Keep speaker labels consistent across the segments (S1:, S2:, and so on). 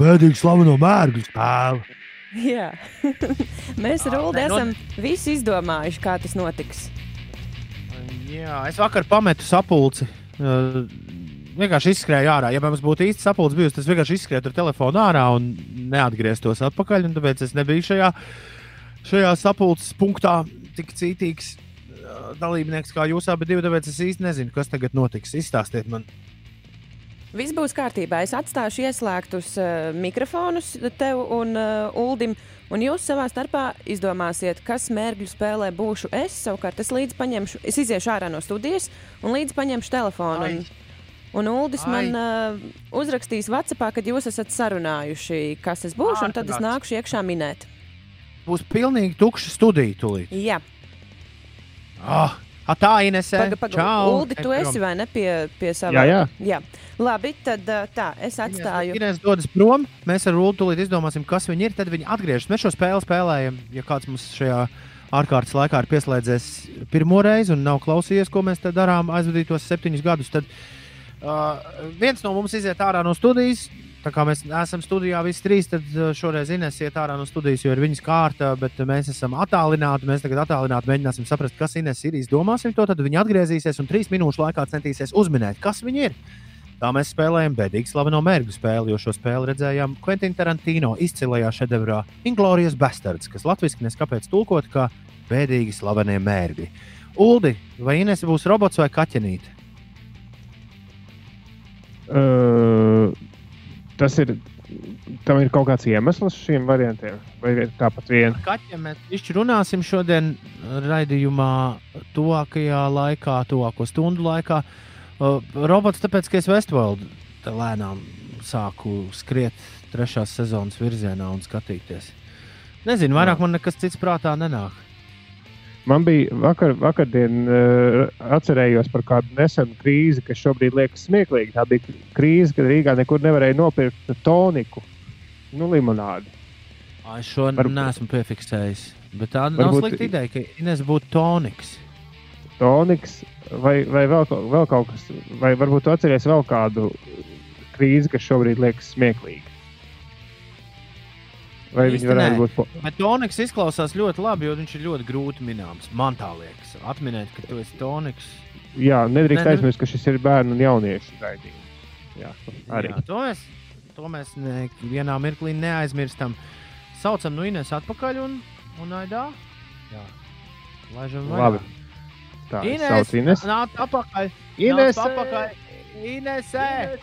S1: Pēdīgi slaveno mērķu tēvu.
S2: Jā, mēs ar Ulu
S3: nē, no-
S2: esam visu izdomājuši, kā tas notiks.
S3: Jā, es vakar pametu sapulci. Uh, vienkārši izskrēju ārā. Ja mums būtu īsta sapulce bijusi, tad es vienkārši izskrēju tur telefonu ārā un neatgrieztos atpakaļ. un Tāpēc es nebiju šajā, šajā sapulces punktā tik cītīgs uh, dalībnieks kā jūs abi. Divi, tāpēc es īsti nezinu, kas tagad notiks. Izstāstiet man.
S2: Viss būs kārtībā. Es atstāšu ieslēgtus uh, mikrofonus tev un uh, Uldim. Un jūs savā starpā izdomāsiet, kas mērķu spēlē būšu es. Savukārt es līdzi paņemšu, es iziešu ārā no studijas un līdzi paņemšu telefonu.
S3: Ai.
S2: Un, un Uldis
S3: Ai.
S2: man uh, uzrakstīs Vācijā, kad jūs esat sarunājuši, kas es būšu, un tad es
S3: Ārprāts.
S2: nākušu iekšā minēt.
S3: Būs pilnīgi tukša studija tūlīt.
S2: Jā,
S3: Ah, tā Inese.
S2: pagaidi, pagaidi. Uldi, tu esi vai ne pie, pie sava?
S4: Jā, jā.
S2: jā. Labi, tad uh, tā, es atstāju.
S3: Inês dodas prom, mēs ar Rūtu tūlīt izdomāsim, kas viņi ir. Tad viņi atgriežas. Mēs šo spēli spēlējam. Ja kāds mums šajā ārkārtas laikā ir pieslēdzies pirmo reizi un nav klausījies, ko mēs te darām aizvadītos septiņus gadus, tad uh, viens no mums iziet ārā no studijas. Tā kā mēs esam studijā visi trīs, tad uh, šoreiz Inês iet ārā no studijas, jo ir viņas kārta, bet uh, mēs esam attālināti. Mēs tagad attālināti mēģināsim saprast, kas Inês ir. Izdomāsim to, tad viņa atgriezīsies un trīs minūšu laikā centīsies uzminēt, kas viņa ir. Tā mēs spēlējam bēdīgi slaveno mērķu spēli, jo šo spēli redzējām Quentin Tarantino izcilajā šedevrā Inglorious Bastards, kas latviešu neskapēc tulkot kā bēdīgi slavenie mērķi. Uldi, vai Inês būs robots vai kaķenīte?
S4: Uh, tas ir. Tam ir kaut kāds iemesls šiem variantiem. Vai ir tāpat viena?
S3: Kaķiem mēs višķi runāsim šodien raidījumā, tuvākajā laikā, tuvāko stundu laikā. Uh, Robots, tāpēc, ka es Westworldu te lēnām sāku skriet trešās sezonas virzienā un skatīties. Nezinu, vairāk man nekas cits prātā nenāk.
S4: Man bija vakar, vakardien, uh, atcerējos par kādu nesenu krīzi, kas šobrīd liekas smieklīga. Tā bija krīze, kad Rīgā nekur nevarēja nopirkt toniku, nu, limonādi.
S3: Ai, Es šo
S4: Varbūt-
S3: varbūt. neesmu piefiksējis. Bet tā nav
S4: Varbūt-
S3: slikta ideja, ka Inês būtu toniks.
S4: Toniks vai, vai vēl, kaut- vēl kaut kas, vai varbūt tu atceries vēl kādu krīzi, kas šobrīd liekas smieklīga. Vai
S3: Īsti
S4: viņi varētu
S3: nē.
S4: būt po-
S3: Bet toniks izklausās ļoti labi, jo viņš ir ļoti grūti minams. Man tā liekas, atminēt, ka tu esi toniks.
S4: Jā, nedrīkst
S3: Nē, nu-
S4: aizmirst, ka šis ir bērnu un jauniešu raidījums. Jā, arī.
S3: Jā, to mēs, to mēs ne, vienā mirklī neaizmirstam. Saucam no Inês atpakaļ un, un aidā. Jā, laižam
S4: Labi.
S3: vaļā.
S4: Tā ir
S3: Inês,
S4: sauc Ines.
S3: Nāc apakaļ!
S4: Ines!
S3: nu? Nāc apakaļ! Inesē!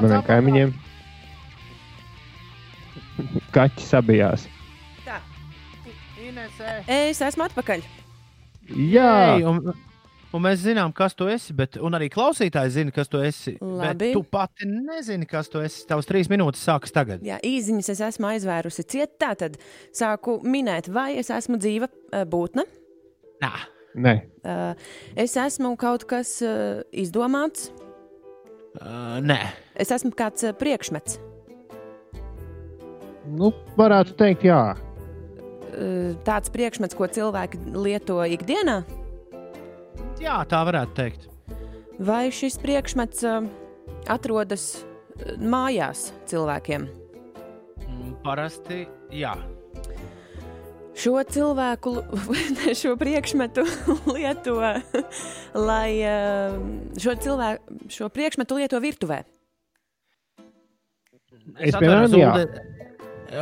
S3: Nāc
S4: maniem
S3: apakaļ!
S4: kaimiņiem. Kaķis sabijās.
S2: Tā,
S3: Inesē!
S2: es esmu atpakaļ.
S4: Jā,
S3: Ei, un, un mēs zinām, kas tu esi, bet, un arī klausītāji zina, kas tu esi. Bet
S2: Labi.
S3: tu pati nezini, kas tu esi. Tavs trīs minūtes sākas tagad.
S2: Jā, īsiņas es esmu aizvērusi ciet. Tā tad sāku minēt, vai es esmu dzīva eh, būtne.
S3: Nā,
S4: nē,
S2: Eh, Es esmu kaut kas eh, izdomāts,
S3: uh, nē.
S2: es esmu kāds eh, priekšmets.
S4: nu, varētu teikt, jā.
S2: Eh, Tāds priekšmets, ko cilvēki lieto ikdienā,
S3: Jā, tā varētu teikt.
S2: vai šis priekšmets eh, atrodas eh, mājās cilvēkiem.
S3: Mm, Parasti, jā.
S2: Šo cilvēku, lu- ne, šo priekšmetu lieto, lai eh, šo, cilvēku, šo priekšmetu lieto virtuvē.
S4: Es piemēram, jā.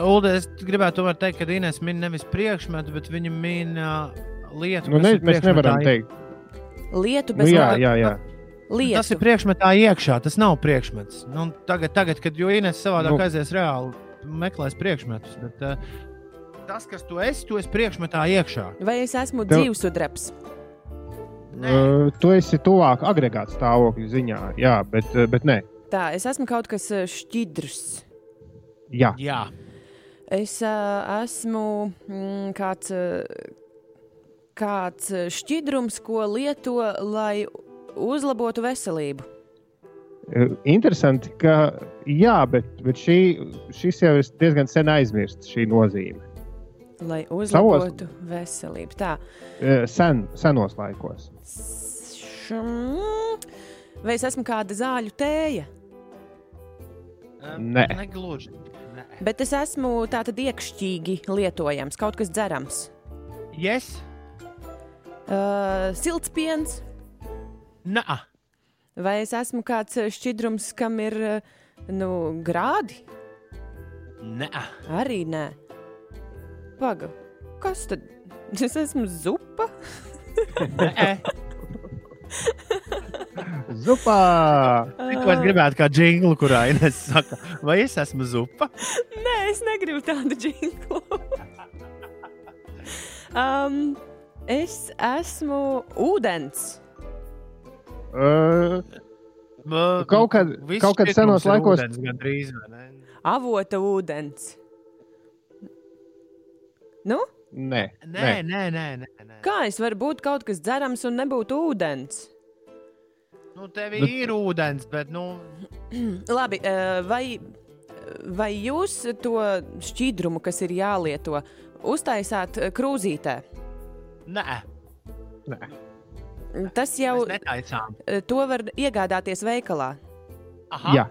S3: Ulde, es gribētu tomēr teikt, ka Inês min nevis priekšmetu, bet viņa min uh, lietu.
S4: Nu,
S3: kas
S4: ne,
S3: ir
S4: mēs
S3: priekšmetā
S4: nevaram
S3: i-
S4: teikt,
S2: Lietu
S4: nu,
S2: bez
S4: jā,
S2: laba-
S4: jā, jā.
S2: lietu.
S3: Nu, Tas ir priekšmetā iekšā, tas nav priekšmets. Nu, tagad, tagad, kad Inês savādāk
S4: Nu.
S3: nu. aizies reāli, meklēs priekšmetus. Bet, uh, tas, kas tu esi, tu esi priekšmetā iekšā.
S2: Vai es esmu
S4: Tev-
S2: Tev... dzīvesudrabs?
S3: Nē.
S4: Uh, tu esi tuvāk agregāta stāvokļa ziņā, jā, bet, uh, bet nē,
S2: Tā, es esmu kaut kas eh, šķidrs.
S4: jā.
S3: Jā,
S2: Es uh, esmu mm, kāds, uh, kāds eh, šķidrums, ko lieto, lai uzlabotu veselību.
S4: Uh, Interesanti, ka jā, bet, bet šī, šis jau ir diezgan sen aizmirsts, šī nozīme.
S2: Lai uzlabotu Savos... veselību. Tā.
S4: Uh, Sen, senos laikos.
S2: Šum. Vai es esmu kāda zāļu tēja?
S4: Nē.
S3: Eh, Negluži. Nē.
S2: Bet es esmu tātad iekšķīgi lietojams, kaut kas dzerams.
S3: Yes.
S2: Uh, silts piens,
S3: Nā.
S2: vai es esmu kāds eh, šķidrums, kam ir eh, nu, grādi?
S3: Nē.
S2: Arī nē. Paga, kas tad? Es esmu zupa.
S3: Nē.
S4: Zupā!
S3: Tik, ko es gribētu kā džinglu, kurā Ines saka, vai es esmu zupa?
S2: Nē, es negribu tādu jinglu. um, es esmu ūdens.
S4: Uh,
S3: M-
S4: Nu, Kaut kad-
S3: viss
S4: kaut kad
S3: šķidrums
S4: senos
S3: ir
S4: laikos-
S3: ūdens Gandrīz, vai ne?
S2: Avota ūdens. Nu,
S4: nē,
S3: Nē, nē, nē. nē, nē.
S2: kā es varu būt kaut kas dzerams un nebūt ūdens?
S3: Nu, tev ir ūdens, bet, nu,
S2: Labi, eh, vai, vai jūs to šķīdumu, kas ir jālieto, uztaisāt eh, krūzītē?
S3: nē.
S2: Tas jau
S3: Mēs netaicām.
S2: eh, to var iegādāties veikalā,
S3: Aha.
S4: Jā,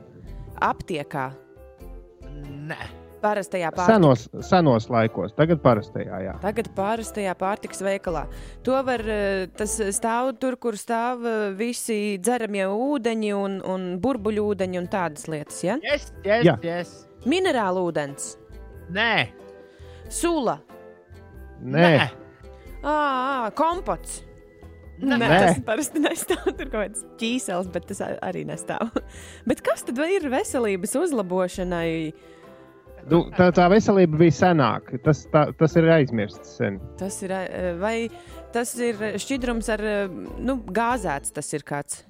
S2: aptiekā,
S3: Nē.
S2: parastajā pārtikas.
S4: senos, senos laikos, tagad parastajā. Jā.
S2: Tagad pārastajā pārtikas veikalā. To var, eh, tas stāv tur, kur stāv eh, visi dzeramie ūdeņi un, un burbuļūdeņi un tādas lietas. Ja?
S3: Yes, yes,
S4: Jā.
S3: yes.
S2: Minerāla ūdens,
S3: Nē.
S2: sula,
S4: Nē,
S2: ā, ā, kompots. Nē,
S4: Nē.
S2: tas parasti nestāv tur kaut kāds ķīsels, bet tas a- arī nestāv. bet kas tad ir veselības uzlabošanai?
S4: du, tā, tā veselība bija senāka. Tas, tā, tas ir aizmirsts sen.
S2: Tas ir, eh, vai tas ir šķidrums ar, eh, nu, gāzēts tas ir kāds.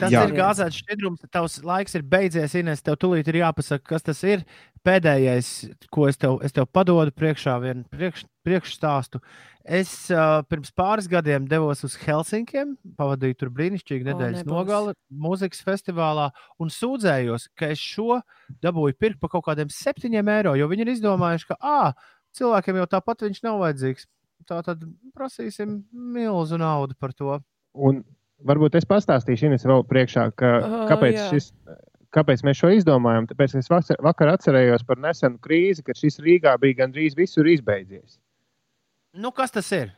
S3: Tas
S4: Jā.
S3: Jā. ir gāzēts šķidrums, tavs laiks ir beidzies. Ines, tev tūlīt ir jāpasaka, kas tas ir. Pēdējais, ko es tev, es tev padodu priekšā, vienu priekš, priekšstāstu. Es uh, pirms pāris gadiem devos uz Helsinkiem, pavadīju tur brīnišķīgu
S2: O,
S3: nedēļas
S2: nebūs.
S3: nogali mūzikas festivālā un sūdzējos, ka es šo dabūju pirkt par kaut kādiem septiņiem eiro, jo viņi ir izdomājuši, ka ā, cilvēkiem jau tāpat viņš nav vajadzīgs. Tā tad prasīsim milzu naudu par to.
S4: Un varbūt es pastāstīšu Ines vēl priekšā, ka,
S2: Ah,
S4: kāpēc,
S2: jā.
S4: šis, kāpēc mēs šo izdomājam. Tāpēc es vakar, vakar atcerējos par nesenu krīzi, kad šis Rīgā bija gandrīz visur izbeidzies.
S3: Nu, kas tas ir?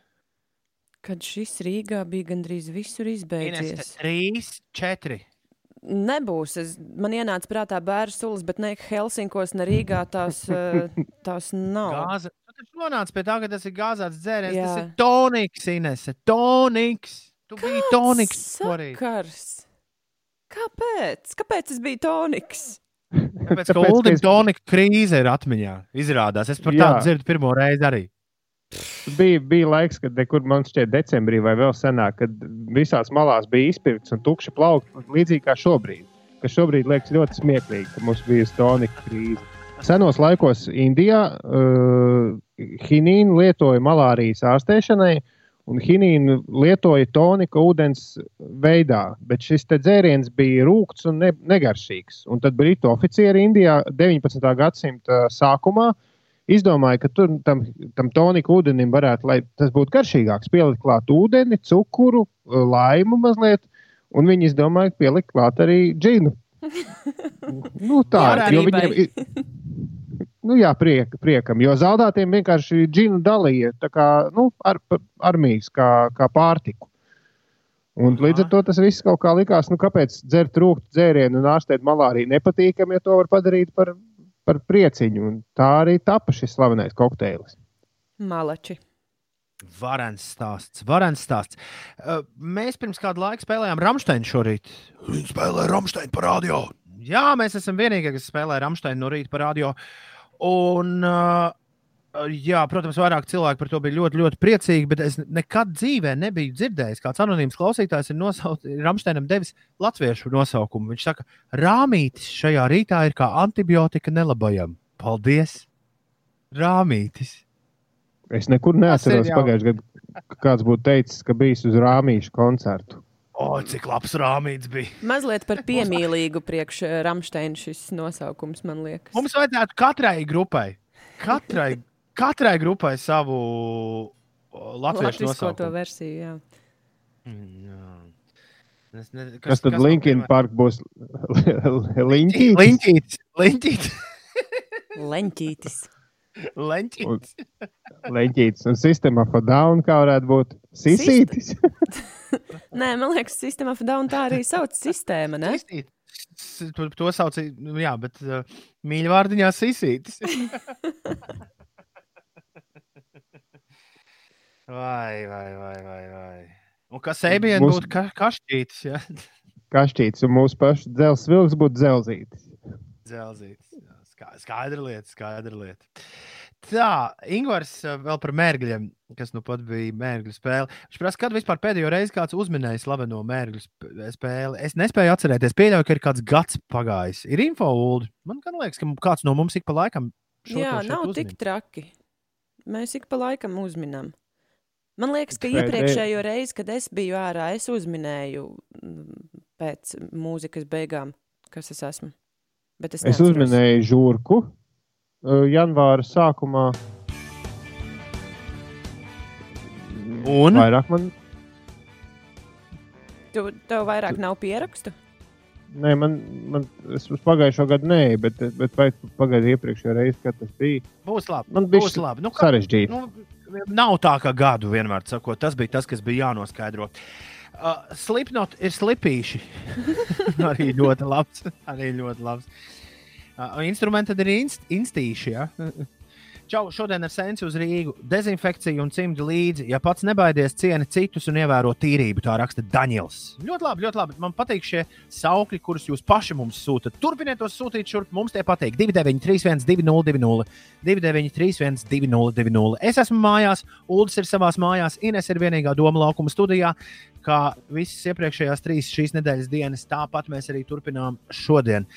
S2: Kad šis Rīgā bija gandrīz visur izbeidzies.
S3: Ines, trīs, četri.
S2: Nebūs. Es, man ienāca prātā bērnu sulas, bet ne Helsinkos, ne Rīgā tās, eh, tās nav.
S3: Gāze. Tu taču nonāci pie tā, ka tas ir gāzēts dzēriens.
S2: Jā.
S3: Tas ir toniks, Ines. Toniks. Tu Kāds biji toniks. šorīt.
S2: Sakars. Kāpēc? Kāpēc tas bija toniks?
S3: Tāpēc, ka
S4: Tāpēc, ka
S3: Uldim
S4: es-
S3: tonika krīze ir atmiņā. Izrādās, es par
S4: Jā.
S3: tādu dzirdu pirmo reizi arī.
S4: Bija, bija laiks, kad nekur, man šķiet, decembrī vai vēl senāk, kad visās malās bija izpirkts un tukši plaukts, līdzīgi kā šobrīd. Kas šobrīd liekas ļoti smieklīgi, ka mums bija tonika krīze. Senos laikos Indijā uh, hinīnu lietoja malārijas ārstēšanai, un hinīnu lietoja tonika ūdens veidā, bet šis te dzēriens bija rūkts un ne, negaršīgs. Un tad britu oficieri Indijā 19. gadsimta sākumā izdomāja, ka tur tam, tam toniku ūdenim varētu, lai tas būtu garšīgāks, pielikt klāt ūdeni, cukuru, e, laimu mazliet. Un viņi izdomāja pielikt klāt arī džinu. Nu, tā jo viņiem ir. Nu, jā, priek, priekam. Jo zaudētiem vienkārši džinu dalīja tā kā, nu, ar, pa- armijas, kā, kā pārtiku. Un
S3: Aha.
S4: līdz ar to tas viss kaut kā likās, nu, kāpēc dzert rūkstu dzērienu un ārstēt malāriju nepatīkami, ja to var padarīt par par prieciņu. un Tā arī tapa šis slavenais kokteilis.
S2: Malači.
S3: Varens stāsts. Varens stāsts. Uh, Mēs pirms kāda laika spēlējām Rāmsteinu šorīt.
S1: Viņi spēlē Rāmsteinu parādio.
S3: Jā, mēs esam vienīgie, kas spēlē Rāmsteinu no rīta par radio. Un, uh, jā, protams, vairāk cilvēki par to bija ļoti, ļoti priecīgi. Bet es nekad dzīvē nebiju dzirdējis, kāds anonīms klausītājs ir nosaucis Rāmsteinam devis latviešu nosaukumu. Viņš saka, Rāmītis šajā rītā ir kā antibiotika nelabajam. Paldies! Rāmītis!
S4: Es nekur
S3: Tas
S4: neatceros
S3: ir jau-
S4: pagājušajā gadā, ka kāds būtu teicis, ka bijis uz rāmīšu koncertu.
S3: O, cik labs rāmītis bija!
S2: Mazliet par piemīlīgu priekš eh, Ramsteina šis nosaukums, man liekas.
S3: Mums vajadzētu katrai grupai, katrai, katrai grupai savu o, latviešu
S2: Latvijas to
S3: nosaukumu.
S2: versiju. Jā.
S3: Kas, Mm,
S4: Kas, kas tad Linkina
S3: parāda?
S4: parka būs? Linkīts.
S3: Linkīts. Leņķīt,
S2: Leņķītis.
S3: leņķīt.
S4: Un- Leģītis un sistēma for down, kā varētu būt sisītis.
S2: Nē, man liekas, sistēma Fadaun tā arī sauc sistēma. Ne?
S3: Sisīt. S- To, to sauc, nu jā, bet uh, mīļvārdiņā sisītis. vai, vai, vai, vai, vai. Un kas eibien
S4: Mums-
S3: būtu ka, kašķītis, ja?
S4: Kašķītis un mūsu pašu dzelzs vilks būtu dzelzītis.
S3: Dzelzītis. jā. Skā- Skaidra lieta, skaidra lieta. Tā, Ingūns vēl par mērgļiem, kas nu pat bija mērgļu spēle. Viņš prasa, kad vispār pēdējo reizi kāds uzminēja slaveno mērgļu sp- eh, spēli. Es nespēju atcerēties, pieļauju, ka ir kāds gads pagājis. Ir info, Ulu. Man gan liekas, ka kāds no mums ik pa laikam. šo
S2: Jā,
S3: to šeit
S2: nav tik
S3: uzmin.
S2: traki. Mēs ik pa laikam uzminam. Man liekas, ka
S4: Pēdē-
S2: iepriekšējo reizi, kad es biju ārā, es uzminēju mm, pēc mūzikas beigām, kas es esmu. Bet es,
S4: Es
S2: neatceros.
S4: uzminēju žurku uh, janvāra sākumā.
S3: Un?
S4: Vairāk man,
S2: Tu, tev vairāk nav pierakstu.
S4: nē, man, man es uz pagājušo gadu nē, bet, bet vai pagājušajā iepriekšējā reizē, kad tas bija
S3: Būs labi.
S4: Man
S3: būs
S4: bišķi
S3: labi. Nu, kā,
S4: sarežģīti.
S3: nu, nav tā, ka gadu vienmēr sakot, tas bija tas, kas bija jānoskaidro. Uh, Slipnot ir slipīši. arī ļoti labs. Arī ļoti labs. Uh, instrumenti tad ir inst instīši. Ja? Čau, šodien ar sensu uz Rīgu. Dezinfekcija un cimdi līdzi. Ja pats nebaidies, cieni citus un ievēro tīrību. Tā raksta Daniels. Ļoti labi, ļoti labi. Man patīk šie saukļi, kurus jūs paši mums sūtat. Turpiniet tos sūtīt šurp. Mums tie patīk. 2931, 2020, 293, 200. Es esmu mājās, Ulas ir savā mājās, Ines ir vienīgā doma laukuma studijā. Kā visas iepriekšējās trīs šīs nedēļas dienas, tāpat mēs arī turpinām šodien.